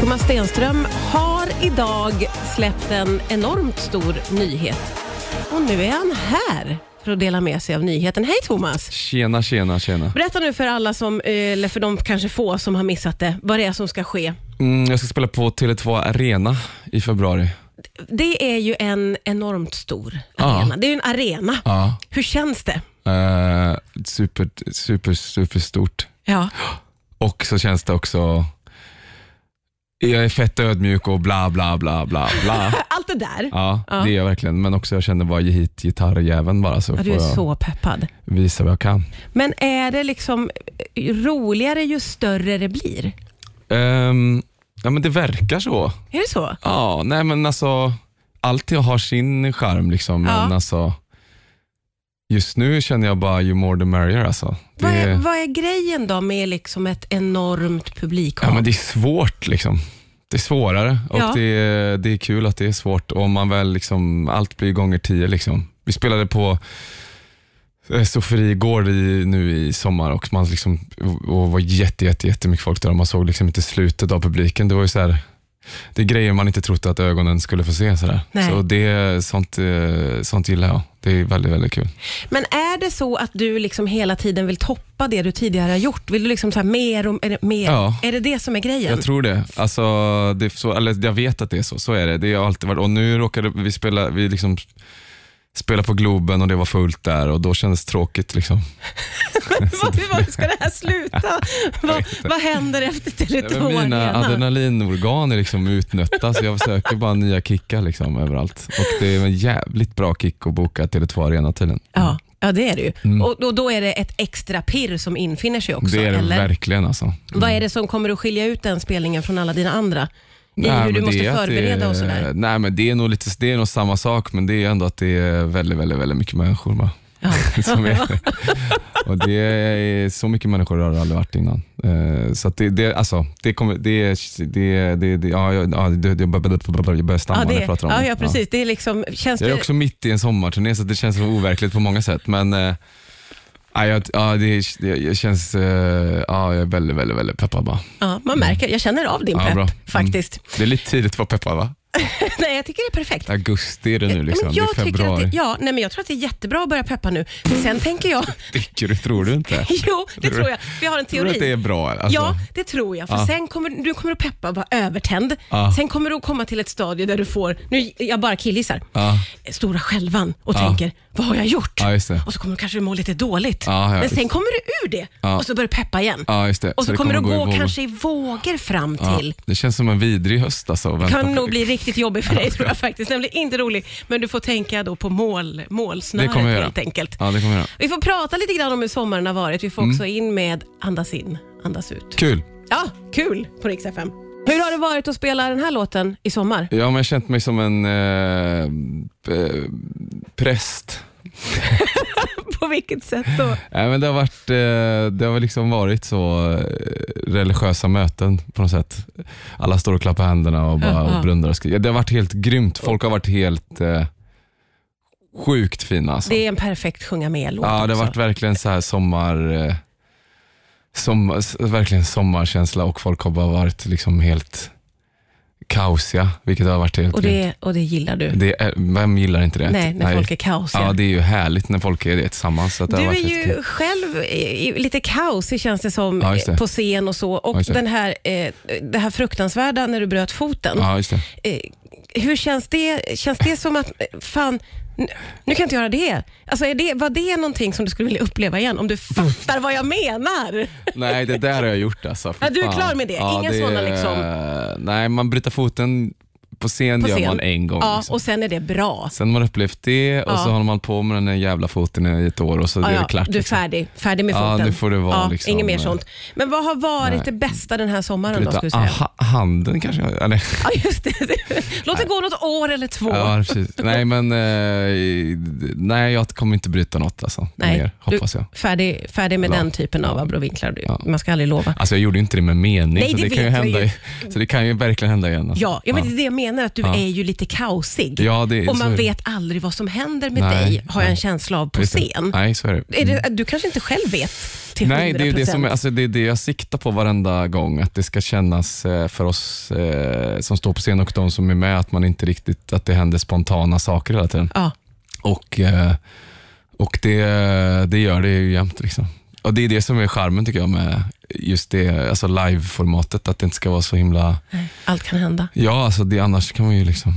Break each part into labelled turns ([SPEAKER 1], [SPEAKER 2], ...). [SPEAKER 1] Thomas Stenström har idag släppt en enormt stor nyhet. Och nu är han här för att dela med sig av nyheten. Hej Thomas!
[SPEAKER 2] Tjena, tjena, tjena.
[SPEAKER 1] Berätta nu för alla som, eh, eller för de kanske få som har missat det, vad det är som ska ske.
[SPEAKER 2] Mm, jag ska spela på Tele2 Arena i februari.
[SPEAKER 1] Det är ju en enormt stor
[SPEAKER 2] Ja.
[SPEAKER 1] arena. Det är ju en arena.
[SPEAKER 2] Ja.
[SPEAKER 1] Hur känns det?
[SPEAKER 2] Eh, super, super, super stort.
[SPEAKER 1] Ja.
[SPEAKER 2] Och så känns det också, jag är fett ödmjuk och bla, bla, bla, bla, bla.
[SPEAKER 1] Allt det där.
[SPEAKER 2] Ja, det är jag verkligen. Men också jag känner bara ge hit gitarrjäveln bara så
[SPEAKER 1] Ja,
[SPEAKER 2] får
[SPEAKER 1] du är
[SPEAKER 2] jag
[SPEAKER 1] så peppad.
[SPEAKER 2] visa vad jag kan.
[SPEAKER 1] Men är det liksom eh, roligare ju större det blir?
[SPEAKER 2] Ehm, ja men det verkar så.
[SPEAKER 1] Är det så?
[SPEAKER 2] Ja, nej men alltså, allt jag har sin charm liksom. Men
[SPEAKER 1] Ja.
[SPEAKER 2] alltså, just nu känner jag bara ju more the merrier alltså. Det,
[SPEAKER 1] Vad, är, vad är grejen då med liksom ett enormt publikhav?
[SPEAKER 2] ja, men det är svårt liksom. Det är svårare och
[SPEAKER 1] Ja.
[SPEAKER 2] det, är, det är kul att det är svårt. Och om man väl liksom, allt blir gånger tio liksom. Vi spelade på eh, Sofiegård i, nu i sommar och man liksom, och var jätte, jätte, jättemycket folk där och man såg liksom inte slutet av publiken. Det var ju så här, det är grejer man inte trodde att ögonen skulle få se. Så, där.
[SPEAKER 1] Nej.
[SPEAKER 2] så det, sånt, eh, sånt gillar jag. Det är väldigt, väldigt kul.
[SPEAKER 1] Men är det så att du liksom hela tiden vill toppa det du tidigare har gjort? Vill du liksom så här mer och är det mer?
[SPEAKER 2] Ja.
[SPEAKER 1] Är det det som är grejen?
[SPEAKER 2] Jag tror det. Alltså, det är så, eller jag vet att det är så. Så är det. Det har alltid varit. Och nu råkade vi spela, vi liksom spela på Globen och det var fullt där och då kändes det tråkigt. Liksom.
[SPEAKER 1] Vad- Hur var- ska det här sluta? vad, vad händer efter
[SPEAKER 2] Men
[SPEAKER 1] Tele2
[SPEAKER 2] Mina
[SPEAKER 1] Arena?
[SPEAKER 2] adrenalinorgan är liksom utnötta så jag söker bara nya kickar liksom, överallt. Och det är en jävligt bra kick att boka Tele2 Arena tydligen.
[SPEAKER 1] Ja, ja, det är det ju. Och då, då är det ett extra pirr som infinner sig också?
[SPEAKER 2] Mm. Det är det
[SPEAKER 1] eller?
[SPEAKER 2] verkligen alltså.
[SPEAKER 1] Vad är det som kommer att skilja ut den spelningen från alla dina andra? I hur
[SPEAKER 2] men
[SPEAKER 1] du
[SPEAKER 2] det
[SPEAKER 1] måste
[SPEAKER 2] är att
[SPEAKER 1] förbereda
[SPEAKER 2] det, är-
[SPEAKER 1] och sådär.
[SPEAKER 2] Nej men det är, nog lite, det är nog samma sak men det är ändå att det är väldigt, väldigt, väldigt mycket människor. Bara.
[SPEAKER 1] Ja.
[SPEAKER 2] som är, och det är så mycket människor har det aldrig varit innan. Eh, så att det, det, alltså, det kommer, det, det, det, det, ja, jag, ja, det, det, jag börjar- jag börjar stamma
[SPEAKER 1] Ja,
[SPEAKER 2] när
[SPEAKER 1] det,
[SPEAKER 2] jag pratar om
[SPEAKER 1] ja,
[SPEAKER 2] det.
[SPEAKER 1] ja, precis. Det är liksom, känns
[SPEAKER 2] Jag är
[SPEAKER 1] det,
[SPEAKER 2] också mitt i en sommarturné så det känns så overkligt på många sätt. Men eh, ja, jag, ja, det, det, det känns, eh, ja, jag är väldigt, väldigt, väldigt peppad bara.
[SPEAKER 1] ja, man märker, jag känner av din
[SPEAKER 2] Ja,
[SPEAKER 1] pepp
[SPEAKER 2] bra. Mm.
[SPEAKER 1] faktiskt.
[SPEAKER 2] Det är lite tidigt att vara peppad va?
[SPEAKER 1] Nej, jag tycker det är perfekt.
[SPEAKER 2] Augusti är det nu liksom,
[SPEAKER 1] Eh, men
[SPEAKER 2] det
[SPEAKER 1] jag
[SPEAKER 2] är
[SPEAKER 1] tycker att
[SPEAKER 2] februari.
[SPEAKER 1] det, ja, nej, men jag tror att det är jättebra att börja peppa nu. Men sen tänker jag,
[SPEAKER 2] Tycker du, tror du inte?
[SPEAKER 1] jo det
[SPEAKER 2] du-
[SPEAKER 1] tror jag, för jag har en
[SPEAKER 2] Tror du att det
[SPEAKER 1] teori.
[SPEAKER 2] är bra? Alltså,
[SPEAKER 1] Ja, det tror jag. För
[SPEAKER 2] Ja.
[SPEAKER 1] sen kommer du kommer att peppa och vara övertänd.
[SPEAKER 2] Ja.
[SPEAKER 1] Sen kommer du att komma till ett stadie där du får, nu jag bara killgissar,
[SPEAKER 2] Ja.
[SPEAKER 1] stora skälvan och
[SPEAKER 2] Ja.
[SPEAKER 1] tänker, vad har jag gjort?
[SPEAKER 2] Ja, just det.
[SPEAKER 1] Och så kommer du kanske må lite dåligt.
[SPEAKER 2] Ja, ja,
[SPEAKER 1] men sen
[SPEAKER 2] visst.
[SPEAKER 1] kommer du ur det
[SPEAKER 2] Ja.
[SPEAKER 1] och så börjar du peppa igen.
[SPEAKER 2] Ja, just det.
[SPEAKER 1] Och så,
[SPEAKER 2] Så det
[SPEAKER 1] kommer du
[SPEAKER 2] kommer gå i
[SPEAKER 1] gå,
[SPEAKER 2] vågor.
[SPEAKER 1] kanske i vågor fram
[SPEAKER 2] Ja,
[SPEAKER 1] till
[SPEAKER 2] det känns som en vidrig höst alltså. Vänta
[SPEAKER 1] kan
[SPEAKER 2] på-
[SPEAKER 1] nog bli riktigt jobbig för dig tror jag faktiskt. Den blir inte rolig, men du får tänka då på mål, målsnöret
[SPEAKER 2] Det kommer jag göra.
[SPEAKER 1] helt enkelt.
[SPEAKER 2] Ja, Mm. det kommer jag göra.
[SPEAKER 1] Vi får prata lite grann om hur sommaren har varit. Vi får också in med andas in, andas ut.
[SPEAKER 2] Kul.
[SPEAKER 1] Ja, kul på Rix FM. Hur har det varit att spela den här låten i sommar?
[SPEAKER 2] Ja, men jag har känt mig som en eh, eh, präst.
[SPEAKER 1] På vilket sätt då?
[SPEAKER 2] Nej, men det, har varit, eh, det har väl liksom varit så eh, religiösa möten på något sätt. Alla står och klappar händerna och bara
[SPEAKER 1] Ja, ja.
[SPEAKER 2] och blundar. Och skriker. det har varit helt grymt. Folk har varit helt eh, sjukt fina. Alltså.
[SPEAKER 1] Det är en perfekt sjunga med-låt
[SPEAKER 2] Ja, det har
[SPEAKER 1] också.
[SPEAKER 2] varit verkligen så här sommar... eh, sommar s- verkligen sommarkänsla och folk har bara varit liksom helt kaosiga, vilket har varit helt
[SPEAKER 1] Och
[SPEAKER 2] grymt.
[SPEAKER 1] det, och det gillar du?
[SPEAKER 2] det är, Vem gillar inte det?
[SPEAKER 1] Nej, när folk är kaosiga.
[SPEAKER 2] Ja, det är ju härligt när folk är det tillsammans. Så att det
[SPEAKER 1] Du
[SPEAKER 2] har
[SPEAKER 1] är
[SPEAKER 2] varit helt
[SPEAKER 1] ju
[SPEAKER 2] kul.
[SPEAKER 1] själv i, i, lite kaosig känns det som
[SPEAKER 2] Ja, just det.
[SPEAKER 1] eh, på scen och så. Och
[SPEAKER 2] Ja, just det.
[SPEAKER 1] den här, eh, det här fruktansvärda när du bröt foten.
[SPEAKER 2] Ja, just det.
[SPEAKER 1] Eh, hur känns det? Känns det som att, eh, fan, n- nu kan jag inte göra det. Alltså är det. Var det någonting som du skulle vilja uppleva igen? Om du fattar vad jag menar?
[SPEAKER 2] Nej, det där har jag gjort alltså. Fy
[SPEAKER 1] Ja, du är
[SPEAKER 2] fan.
[SPEAKER 1] klar med det. Inga
[SPEAKER 2] det-
[SPEAKER 1] såna liksom-
[SPEAKER 2] Nej, man bryter foten på scen,
[SPEAKER 1] På
[SPEAKER 2] gör
[SPEAKER 1] scen.
[SPEAKER 2] man en gång.
[SPEAKER 1] Ja,
[SPEAKER 2] liksom.
[SPEAKER 1] och sen är det bra.
[SPEAKER 2] Sen har man upplevt det och
[SPEAKER 1] Ja.
[SPEAKER 2] så håller man på med den där jävla foten i ett år och så
[SPEAKER 1] Ja,
[SPEAKER 2] är det
[SPEAKER 1] ja,
[SPEAKER 2] klart.
[SPEAKER 1] du är
[SPEAKER 2] liksom.
[SPEAKER 1] färdig, färdig med
[SPEAKER 2] Ja,
[SPEAKER 1] foten.
[SPEAKER 2] nu får det vara
[SPEAKER 1] Ja,
[SPEAKER 2] liksom,
[SPEAKER 1] inget mer
[SPEAKER 2] eh,
[SPEAKER 1] sånt. Men vad har varit
[SPEAKER 2] nej.
[SPEAKER 1] det bästa den här sommaren då? Skulle du
[SPEAKER 2] Bryta
[SPEAKER 1] säga?
[SPEAKER 2] aha, Ah, handen kanske? Eller?
[SPEAKER 1] Ja, just det. Låt det gå något år eller två.
[SPEAKER 2] Ja, precis. Nej, men eh, nej, jag kommer inte bryta något alltså.
[SPEAKER 1] Nej,
[SPEAKER 2] Mer,
[SPEAKER 1] du-
[SPEAKER 2] hoppas jag.
[SPEAKER 1] Färdig, färdig med
[SPEAKER 2] Ja.
[SPEAKER 1] den typen av abrovinklarar.
[SPEAKER 2] Ja.
[SPEAKER 1] Man ska aldrig lova.
[SPEAKER 2] Alltså jag gjorde ju inte det med mening,
[SPEAKER 1] Nej,
[SPEAKER 2] så,
[SPEAKER 1] det
[SPEAKER 2] det kan ju
[SPEAKER 1] vet jag
[SPEAKER 2] hända,
[SPEAKER 1] ju.
[SPEAKER 2] i- så det kan ju verkligen hända igen. Alltså.
[SPEAKER 1] Ja, ja, men det är det jag menar, att du
[SPEAKER 2] Ja.
[SPEAKER 1] är ju lite kaosig.
[SPEAKER 2] Ja, det,
[SPEAKER 1] och
[SPEAKER 2] så är
[SPEAKER 1] man
[SPEAKER 2] det.
[SPEAKER 1] vet aldrig vad som händer med
[SPEAKER 2] Nej,
[SPEAKER 1] dig, har jag en
[SPEAKER 2] nej.
[SPEAKER 1] känsla av, på
[SPEAKER 2] Vet du?
[SPEAKER 1] scen.
[SPEAKER 2] Nej, så är det. Mm.
[SPEAKER 1] Är det, du kanske inte själv vet till 100%?
[SPEAKER 2] Nej, det är ju det, som, är- alltså, det är det jag siktar på varenda gång. Att det ska kännas eh, för oss eh, som står på scen och de som är med att man inte riktigt att det händer spontana saker hela tiden.
[SPEAKER 1] Ja.
[SPEAKER 2] Och, eh, och det, det gör det ju jämt. Liksom. Och det är det som är charmen tycker jag med just det alltså live-formatet. Att det inte ska vara så himla...
[SPEAKER 1] Nej, Allt kan hända.
[SPEAKER 2] Ja, alltså det, annars kan man ju liksom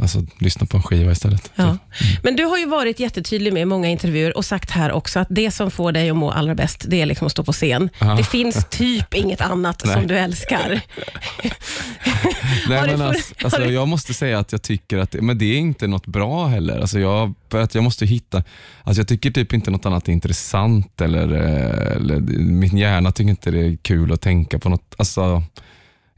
[SPEAKER 2] alltså, lyssna på en skiva istället. Typ.
[SPEAKER 1] Ja. Men du har ju varit jättetydlig med i många intervjuer och sagt här också att det som får dig att må allra bäst, det är liksom att stå på scen.
[SPEAKER 2] Ja.
[SPEAKER 1] Det finns typ inget annat
[SPEAKER 2] Nej.
[SPEAKER 1] som du älskar.
[SPEAKER 2] Nej,
[SPEAKER 1] Har du
[SPEAKER 2] men
[SPEAKER 1] fått-
[SPEAKER 2] alltså, alltså,
[SPEAKER 1] har du-
[SPEAKER 2] jag måste säga att jag tycker att det, men det är inte något bra heller. Alltså, jag, för att jag måste hitta, alltså, jag tycker typ inte något annat är intressant eller, eh, eller min hjärna tycker inte det är kul att tänka på något. Alltså,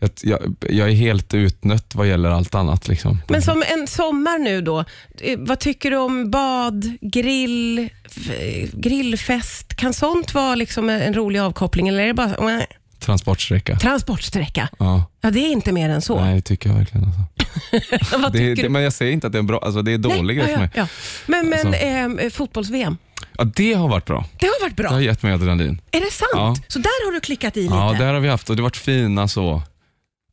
[SPEAKER 2] jag, jag, jag är helt utnött vad gäller allt annat. Liksom.
[SPEAKER 1] Men som en sommar nu då, eh, vad tycker du om bad, grill, f- grillfest? Kan sånt vara liksom en en rolig avkoppling eller är det bara eh,
[SPEAKER 2] Transportsträcka.
[SPEAKER 1] transportsträcka?
[SPEAKER 2] Ja,
[SPEAKER 1] Ja, det är inte mer än så.
[SPEAKER 2] nej, det tycker jag verkligen. Alltså.
[SPEAKER 1] vad
[SPEAKER 2] Det,
[SPEAKER 1] tycker
[SPEAKER 2] det,
[SPEAKER 1] du?
[SPEAKER 2] men jag säger inte att det är en bra, alltså, det är dålig grej
[SPEAKER 1] ja,
[SPEAKER 2] för mig.
[SPEAKER 1] ja, ja. Men, men
[SPEAKER 2] Alltså-
[SPEAKER 1] ehm, eh, fotbolls-VM,
[SPEAKER 2] Ja, det har varit bra.
[SPEAKER 1] det har varit bra.
[SPEAKER 2] Det har gett mig adrenalin.
[SPEAKER 1] Är det sant?
[SPEAKER 2] Ja.
[SPEAKER 1] Så där har du klickat i lite?
[SPEAKER 2] Ja, där har vi haft och det har varit fina så.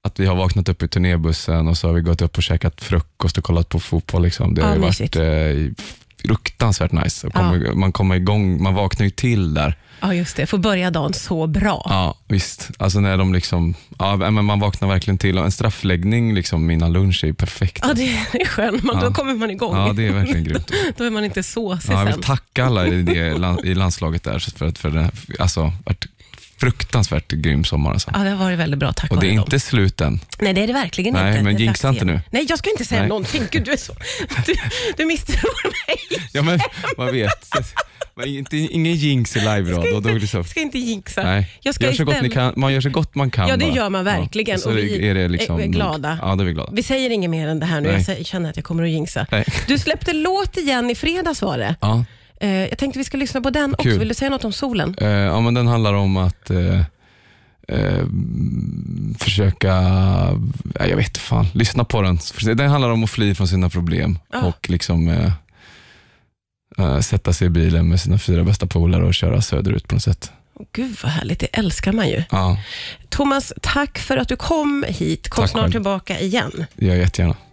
[SPEAKER 2] Att vi har vaknat upp i turnébussen och så har vi gått upp och käkat frukost och kollat på fotboll. Liksom. Det
[SPEAKER 1] Ja,
[SPEAKER 2] har ju
[SPEAKER 1] mysigt.
[SPEAKER 2] varit eh, fruktansvärt nice. Och
[SPEAKER 1] Ja.
[SPEAKER 2] kommer, Man kommer igång, man vaknar ju till där.
[SPEAKER 1] Ja, just det. Får börja dagen så bra.
[SPEAKER 2] Ja, visst. Alltså när de liksom, ja, men man vaknar verkligen till. Och en straffläggning liksom innan lunch är ju perfekt.
[SPEAKER 1] Ja, det är skönt. Man, Då
[SPEAKER 2] Ja.
[SPEAKER 1] kommer man igång.
[SPEAKER 2] Ja, det är verkligen grymt.
[SPEAKER 1] Då är man inte såsig
[SPEAKER 2] Ja, jag
[SPEAKER 1] sen.
[SPEAKER 2] vill tacka alla i, det, land- i landslaget där för att för det alltså, varit fruktansvärt grym sommar. Alltså.
[SPEAKER 1] Ja, det har varit väldigt bra. Tack
[SPEAKER 2] Och
[SPEAKER 1] vare
[SPEAKER 2] det är
[SPEAKER 1] dem.
[SPEAKER 2] inte slut än.
[SPEAKER 1] Nej, det är det verkligen
[SPEAKER 2] Nej,
[SPEAKER 1] inte.
[SPEAKER 2] men
[SPEAKER 1] Det är
[SPEAKER 2] jinxa
[SPEAKER 1] dags
[SPEAKER 2] inte
[SPEAKER 1] igen.
[SPEAKER 2] nu.
[SPEAKER 1] Nej, jag ska inte säga
[SPEAKER 2] Nej.
[SPEAKER 1] någonting. Gud, du är så... Du, du misstror mig.
[SPEAKER 2] Ja, men man vet. Men inte, ingen jinx i live-radio. Då, då, är det så-
[SPEAKER 1] Jag ska inte jinxa.
[SPEAKER 2] nej.
[SPEAKER 1] Jag ska
[SPEAKER 2] gör så gott ni
[SPEAKER 1] istället-
[SPEAKER 2] kan, man gör så gott man kan.
[SPEAKER 1] Ja, det
[SPEAKER 2] bara.
[SPEAKER 1] gör man verkligen.
[SPEAKER 2] Ja. Så
[SPEAKER 1] Och
[SPEAKER 2] det-
[SPEAKER 1] vi
[SPEAKER 2] är det liksom
[SPEAKER 1] är- är glada.
[SPEAKER 2] Ja, då är vi glada.
[SPEAKER 1] Vi säger inget mer än det här nu.
[SPEAKER 2] Nej.
[SPEAKER 1] Jag sä- känner att jag kommer att jinxa.
[SPEAKER 2] Nej.
[SPEAKER 1] Du släppte låt igen i fredags var det.
[SPEAKER 2] Ja.
[SPEAKER 1] Eh, jag tänkte vi ska lyssna på den också.
[SPEAKER 2] Kul.
[SPEAKER 1] Vill du säga något om solen?
[SPEAKER 2] Eh, ja, men den handlar om att eh, eh, försöka, ja, jag vet fan, lyssna på den. Den handlar om att fly från sina problem
[SPEAKER 1] Ja.
[SPEAKER 2] och liksom eh, eh, sätta sig i bilen med sina fyra bästa polare och köra söderut på något sätt.
[SPEAKER 1] Åh, Gud vad härligt, det älskar man ju.
[SPEAKER 2] Ja,
[SPEAKER 1] Thomas, tack för att du kom hit. Kom
[SPEAKER 2] Tack
[SPEAKER 1] snart
[SPEAKER 2] själv.
[SPEAKER 1] tillbaka igen.
[SPEAKER 2] det gör jag jättegärna.